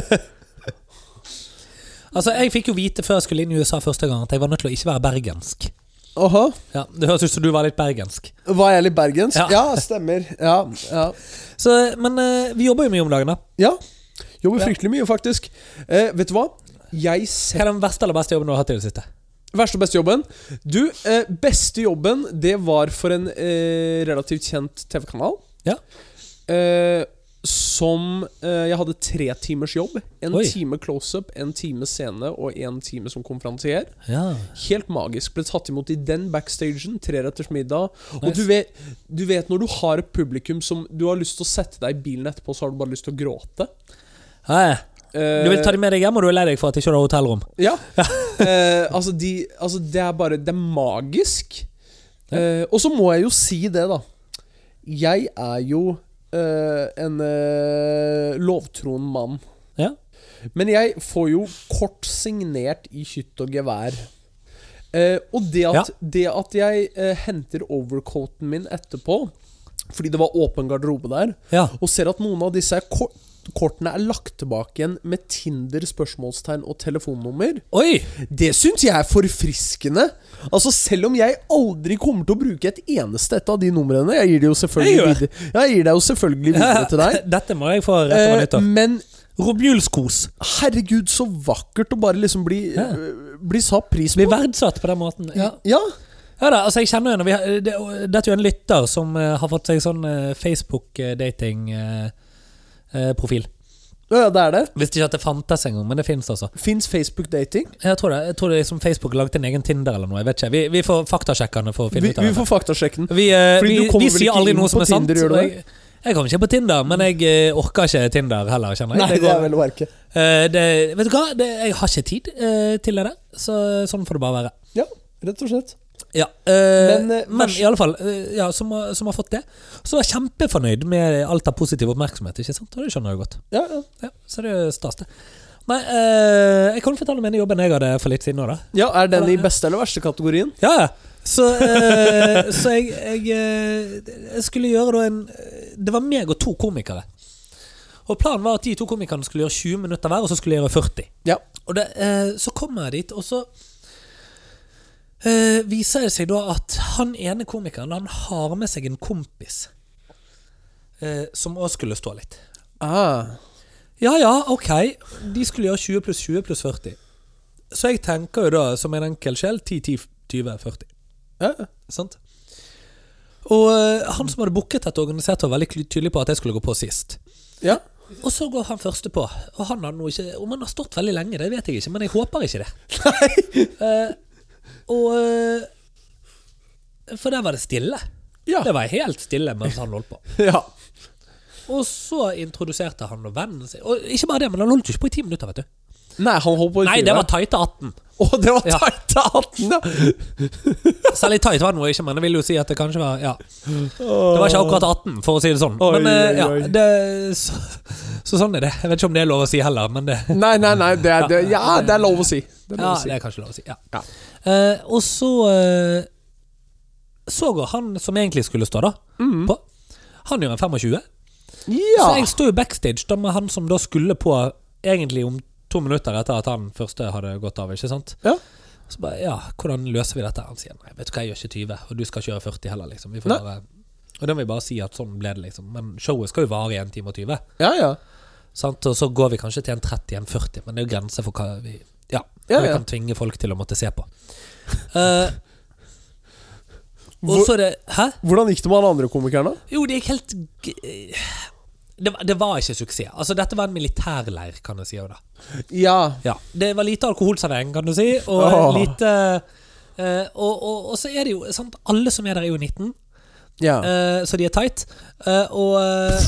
Altså, jeg fikk jo vite før jeg skulle inn i USA første gang, at jeg var nødt til å ikke være bergensk.
Aha.
Ja, Det høres ut som du var litt bergensk.
Var jeg litt bergensk?
Ja.
Ja, stemmer. Ja, ja.
Så, Men eh, vi jobber jo mye om dagen, da.
ja. Jobber
Ja.
fryktelig mye, faktisk. Eh, vet du hva? Jeg ser
Hva er den verste eller beste jobben du har hatt i det siste?
Verste og beste jobben? Du, eh, beste jobben, det var for en eh, relativt kjent TV-kanal.
Ja.
Eh, som eh, Jeg hadde tre timers jobb. En
Oi.
time close-up, en time scene og en time som konferansier.
Ja.
Helt magisk. Ble tatt imot i den backstagen, treretters middag. Og
Nice.
du vet, du vet når du har et publikum som du har lyst til å sette deg i bilen etterpå, så har du bare lyst til å gråte.
Hei,
Eh,
Du vil ta dem med deg hjem, og du er lei deg for at du ikke har hotellrom.
Ja. Eh, altså, de, altså, det er bare Det er magisk. Eh, og så må jeg jo si det, da. Jeg er jo eh, en eh, lovtroen mann.
Ja.
Men jeg får jo kort signert i kytt og gevær. Eh, og det at, det at jeg eh, henter overcoaten min etterpå, fordi det var åpen garderobe der,
Ja.
og ser at noen av disse er kor- kortene er lagt tilbake igjen med Tinder, spørsmålstegn og telefonnummer.
Oi!
Det syns jeg er forfriskende. Altså Selv om jeg aldri kommer til å bruke et eneste et av de numrene. Jeg gir det jo selvfølgelig
Jeg gjør
videre, ja, jeg gir det jo selvfølgelig videre til deg.
Dette må jeg få rett over
Eh,
nyttår.
men
Romjulskos.
herregud, så vakkert å bare liksom bli,
Ja.
eh, bli satt pris
Blir
på.
verdsatt på den måten. Ja.
Ja,
Ja da, altså jeg kjenner jo når vi har, det, og Dette er jo en lytter som eh, har fått seg sånn Facebook-dating-profil.
ja, det er det.
Visste ikke at det fantes engang, men det fins altså.
Fins Facebook dating?
Jeg tror det, jeg tror det er liksom Facebook lagde en egen Tinder eller noe. jeg vet ikke. Vi, vi får faktasjekkerne for å
Vi,
finne ut av
vi
det.
får faktasjekke den.
Vi, eh,
Fordi
vi,
du kommer
vi
vel
sier
ikke
aldri
inn
noe som
på
er sant.
Tinder, gjør du
og jeg, jeg kommer ikke på Tinder, men jeg eh, orker ikke Tinder heller, kjenner jeg.
Nei, det er vel å merke.
Eh, det, vet du hva? Det, jeg har ikke tid eh, til det, så sånn får det bare være.
Ja, rett og slett.
Ja, eh,
Men,
men,
eh, vers-
i alle fall, eh, ja, som, har- som har fått det. Så var jeg kjempefornøyd med alt av positiv oppmerksomhet. ikke sant? Og det skjønner jeg godt.
Ja, ja.
Ja, så det er stas, det. Nei, eh, jeg kan fortelle om en jobb jeg hadde for litt siden òg, da.
ja, Er den i beste eller verste kategorien?
Ja, ja. Så, eh, så jeg, jeg, eh, jeg skulle gjøre da en Det var meg og to komikere. Og planen var at de to komikerne skulle gjøre 20 minutter hver, og så skulle jeg gjøre 40.
Ja.
Og det, eh, så kommer jeg dit, og så eh, viser det seg da at han ene komikeren han har med seg en kompis eh, som òg skulle stå litt.
Ah.
Ja ja, ok. De skulle gjøre 20 pluss 20 pluss 40. Så jeg tenker jo da, som en enkel sjel, 10, 10, 20, 40.
Ja, ja.
Sant? Og eh, han som hadde booket dette organisert, var veldig kly- tydelig på at jeg skulle gå på sist.
ja.
Og så går han første på. Og han har nå ikke Om han har stått veldig lenge, det vet jeg ikke, men jeg håper ikke det. Eh, og eh, For der var det stille.
Ja.
Det var helt stille mens han holdt på.
ja.
Og så introduserte han og vennen sin. Og ikke bare det, men han holdt jo ikke på i ti minutter, vet du.
Nei, han holdt på i
Nei,
fire.
det var tighte 18.
Å, det var
Ja.
tight av 18, ja!
Særlig tight var det nå ikke, men jeg vil jo si at det kanskje var Ja. Det var ikke akkurat 18, for å si det sånn.
Oi,
Men eh,
oi, oi.
ja, det, så, så sånn er det. Jeg vet ikke om det er lov å si heller, men det
Nei, nei, nei. Det er, det, ja, det er lov å si. Det er lov
Ja,
å si.
det er kanskje lov å si. Ja.
Ja.
Eh, og så eh, så går han som egentlig skulle stå, da, på. Han gjør en 25.
Mm. Ja.
Så jeg står jo backstage da med han som da skulle på egentlig om to minutter etter at han første hadde gått av. ikke sant?
Ja.
Så bare, ja, hvordan løser vi dette? Han sier nei, vet du hva, jeg gjør ikke 20, og du skal kjøre 40 heller, liksom. Vi får
Nei.
bare, og da må vi bare si at sånn ble det, liksom. Men showet skal jo vare i en time og 20.
ja, ja.
Sant? Og så går vi kanskje til en 30, en 40, men det er jo grenser for hva vi
Ja,
Ja, hva vi
ja.
kan tvinge folk til å måtte se på. Eh, og
Hvor-
så er det Hæ?
Hvordan gikk det med han andre komikeren, da?
Jo, det gikk helt g- det, var- det var ikke suksess. Altså, dette var en militærleir, kan jeg si. også da.
Ja.
Ja. Det var lite alkoholservering, kan du si, og
Åh.
lite eh, og, og, og så er det jo sant, Alle som er der, er jo 19,
ja.
eh, så de er tight. Eh, og eh,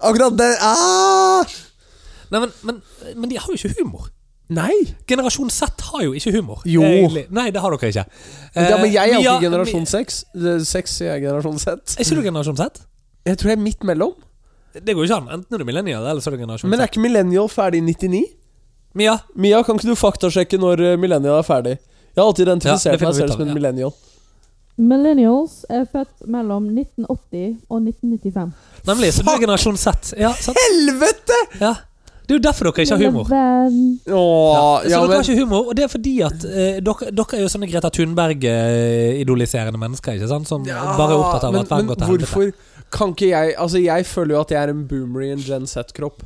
Akkurat det ah!
Nei, men, men, men de har jo ikke humor.
Nei!
Generasjon Z har jo ikke humor.
Jo.
egentlig. Nei, det har dere ikke.
Ja, men jeg er
Eh,
jo
vi
ikke
har-
generasjon
vi-
6. 6 er jeg generasjon Z.
Er ikke du generasjon Z?
Jeg tror jeg er midt mellom.
Det går jo ikke an. Enten er du millennial, eller så er du generasjon
Men er
Z.
ikke millennial ferdig i 99?
Men ja,
Mia, kan ikke du faktasjekke når eh, millennial er ferdig? Jeg har alltid
Ja,
identifisert
det finner
meg
vi ut
selv
av,
som en
ja.
millennial.
Millennials er født mellom 1980 og 1995.
nemlig. Så du er generasjon Z. Ja, sant?
Helvete!
Ja. Det er jo derfor dere ikke har humor.
Leven.
Åh,
så
ja,
dere har
men
ikke humor, og det er fordi at eh, dere, dere er jo sånne Greta Thunberg-idoliserende mennesker, ikke sant? Som bare er opptatt av
men,
at verden
men
går til helvete.
hvorfor kan ikke jeg Altså, jeg føler jo at jeg er en boomer i en Gen Z-kropp.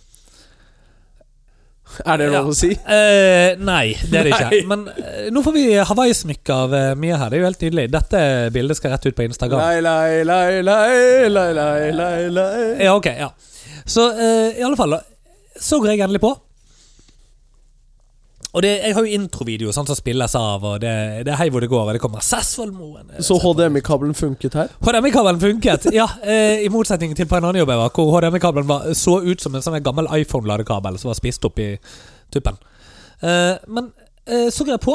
Er det lov å si?
Eh, nei, det er det ikke.
Nei.
Men eh, nå får vi Hawaii-smykke av eh, Mia her. Det er jo helt nydelig. Dette bildet skal rett ut på Instagram.
Lei, lei, lei, lei, lei, lei, lei, lei.
Ja, ok, ja. Så eh, i alle fall, da, så går jeg endelig på. Og det, jeg har jo introvideo sant, som spilles av, og det, det er hei hvor det går, og det kommer Sessvollmoen. eh,
Så HDMI-kabelen funket her?
HDMI-kabelen funket! Ja, eh, I motsetning til på en annen jobb jeg var, hvor HDMI-kabelen var- så ut som en sånn gammel iPhone-ladekabel som var spist opp i tuppen. Eh, men eh, så går jeg på,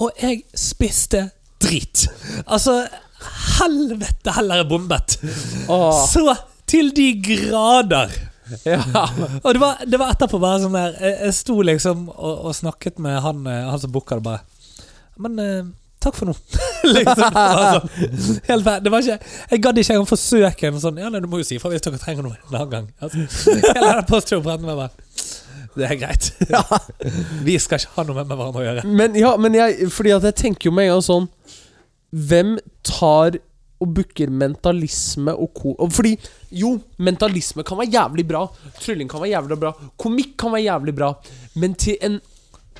og jeg spiste drit. Altså, helvete heller jeg bombet!
Åh,
Så til de grader!
ja.
Og det var, det var etterpå bare sånn der Jeg, jeg sto liksom og, og snakket med han, eh, han som booka det, bare Men eh, takk for nå. liksom, det var sånn. Helt fair. Det var ikke, jeg gadd ikke engang forsøke en sånn Ja, nei, du må jo si ifra hvis dere trenger noe en annen gang. Altså, hele den posturen brant meg bare Det er greit. Vi skal ikke ha noe med hverandre å gjøre.
Men ja, men jeg, fordi at jeg tenker jo med en gang sånn Hvem tar og booker mentalisme og ko... og Fordi jo, mentalisme kan være jævlig bra. Trylling kan være jævlig bra. Komikk kan være jævlig bra. Men til en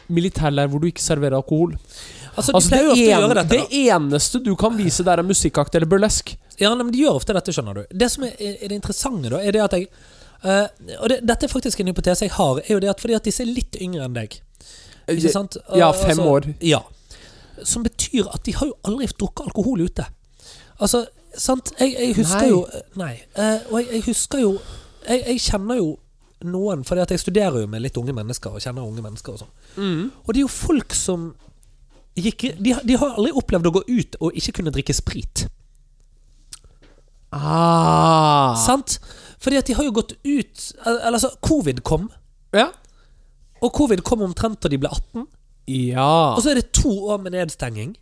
militærleir hvor du ikke serverer alkohol
Altså,
Altså
de
det,
pleier jo ofte å
en,
gjøre dette.
det eneste du kan vise der, er musikkakt eller burlesk.
Da. Ja, nei, men de gjør ofte dette, skjønner du. Det som er, er det interessante, da, er det at jeg eh, Og det, dette er faktisk en hypotese jeg har, er jo det at fordi at disse er litt yngre enn deg.
Eh,
Ikke sant?
Ja,
Og-
fem
altså-
år.
Ja. Som betyr at de har jo aldri drukket alkohol ute. Altså, sant? Jeg, jeg husker
Nei.
jo Nei. Eh, og jeg, jeg husker jo jeg, jeg kjenner jo noen, fordi at jeg studerer jo med litt unge mennesker, og kjenner unge mennesker og sånn.
Mm.
Og det er jo folk som gikk, de, har- de har aldri opplevd å gå ut og ikke kunne drikke sprit.
Ah.
Sant? Fordi at de har jo gått ut Eller altså, covid kom,
Ja.
og covid kom omtrent da de ble 18. Og
ja.
så er det to år med nedstenging,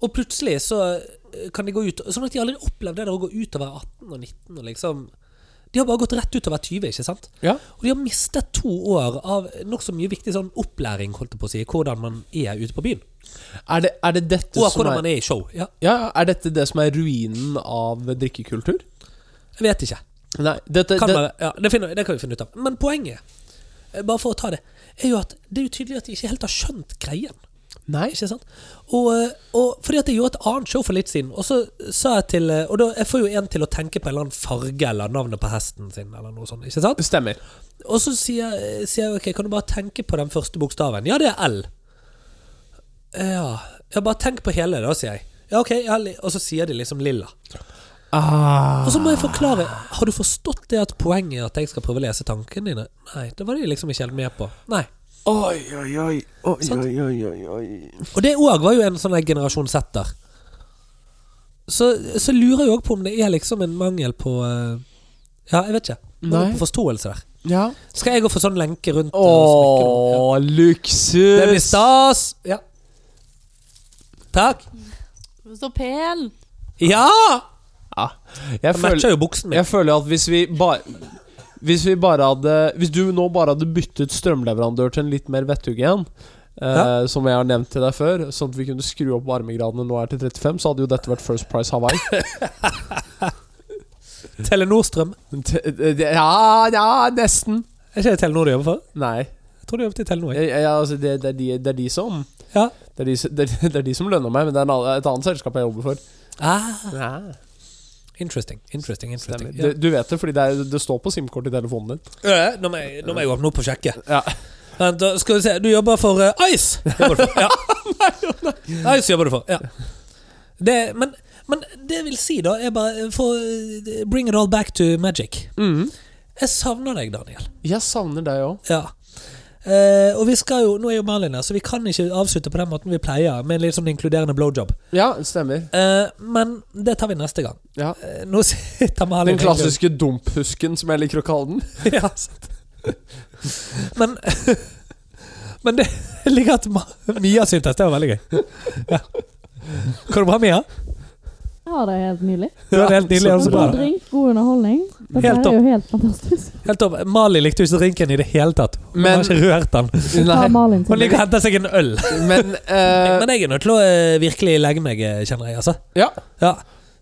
og plutselig så eh, kan de gå ut Sånn at de aldri opplevde det der å gå ut og være 18 og 19 og liksom De har bare gått rett ut og vært 20, ikke sant?
Ja.
Og de har mistet to år av nokså mye viktig sånn opplæring, holdt jeg på å si, hvordan man er ute på byen.
Er, det, er det dette
Og
som
hvordan
er,
man er i show. Ja,
ja, er dette det som er ruinen av drikkekultur?
jeg vet ikke.
Nei, dette,
Kan
det,
være, ja, det, finner, det kan vi finne ut av. Men poenget, eh, bare for å ta det, er jo at det er jo tydelig at de ikke helt har skjønt greien.
Nei.
Ikke sant? Og, eh, og fordi at jeg gjorde et annet show for litt siden, og så sa jeg til eh, Og da, jeg får jo en til å tenke på en eller annen farge eller navnet på hesten sin, eller noe sånt. Ikke sant?
Stemmer.
Og så sier, jeg- sier jeg ok, kan du bare tenke på den første bokstaven? Ja, det er L. Ja, ja bare tenk på hele, da, sier jeg. Ja, ok, ja, li- Og så sier de liksom lilla.
Ah,
Og så må jeg forklare. Har du forstått det at poenget er at jeg skal prøve å lese tankene dine? Nei, det var de liksom ikke helt med på. Nei.
Oi, oi, oi. Oi,
Sant?
oi, oi, oi, oi.
Og det òg var jo en sånn der generasjon setter. Så, så lurer jeg òg på om det er liksom en mangel på eh, Ja, jeg vet ikke. Mangel
Nei.
på forståelse der.
Ja.
Skal jeg gå for sånn lenke rundt eh, smykken nå?
Åh, luksus!
Ja. Det blir stas! Ja. Takk.
Så pen!
Ja!
Ja. Jeg,
Jeg
føler,
matcher jo buksen min.
jeg føler at hvis vi bare Hvis vi bare hadde Hvis du nå bare hadde byttet strømleverandør til en litt mer vettug en, eh,
Ja.
som jeg har nevnt til deg før, sånn at vi kunne skru opp varmegradene nå er til 35, så hadde jo dette vært First Price Hawaii.
Telenorstrøm.
T- eh, ja, ja, nesten.
Er ikke det Telenor du jobber for?
Nei.
Jeg tror du jobber til Telenor. jeg.
Jeg, jeg, altså, det, det, er de, det er de som
Ja.
det er de, som- det er- det er de som lønner meg, men det er en annen- et annet selskap jeg jobber for.
Ah,
Ja.
interesting. Interesting. interesting.
Stemmer.
Ja.
Du, du vet det, fordi det, er, det står på SIM-kortet i telefonen din.
Øh, Nå må jeg nå må jeg åpne opp og sjekke.
Ja.
Vent, da skal vi se. Du jobber for eh, Ice! Jobber du for. Ja. Ice jobber du for. Ja. Det, men, men det vil si, da, er bare eh, for, eh, Bring it all back to magic.
Mm.
Jeg savner deg, Daniel.
Jeg savner deg òg.
Ja. Eh, og vi skal jo, nå er jo Merlin her, så vi kan ikke avslutte på den måten vi pleier, med en litt sånn inkluderende blowjob.
Ja, stemmer.
Eh, men det tar vi neste gang.
Ja.
Eh, nå sitter Merlin
Den klassiske dumphusken, som jeg liker å kalle den.
ja, sant. Men Men det ligger at Ma- Mia syntes det var veldig gøy. Ja. Går det bra, Mia?
Jeg har det helt nydelig.
Du hadde helt nydelig.
Ja,
og så
så
bra.
bra.
God drink, god underholdning.
Altså,
Dette
Helt
her
topp.
er jo helt fantastisk.
Helt topp. Mali likte jo ikke drinken i det hele tatt. Hun
Men-
har ikke rørt den.
Ta
Nei,
Malin
Hun
sin.
ligger og henter seg en øl.
men eh,
Men jeg er nødt til å eh, virkelig legge meg, eh, kjenner jeg. altså
Ja.
Ja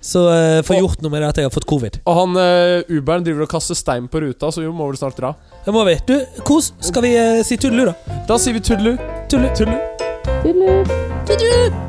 Så eh, få gjort noe med det at jeg har fått covid.
Og han eh, Uberen driver og kaster stein på ruta, så vi må vel snart dra.
Det må vi. Du, kos. Skal vi eh, si tudelu, da?
Da sier vi tudelu.
Tudelu.
Tudelu.
Tudelu.
Tudelu!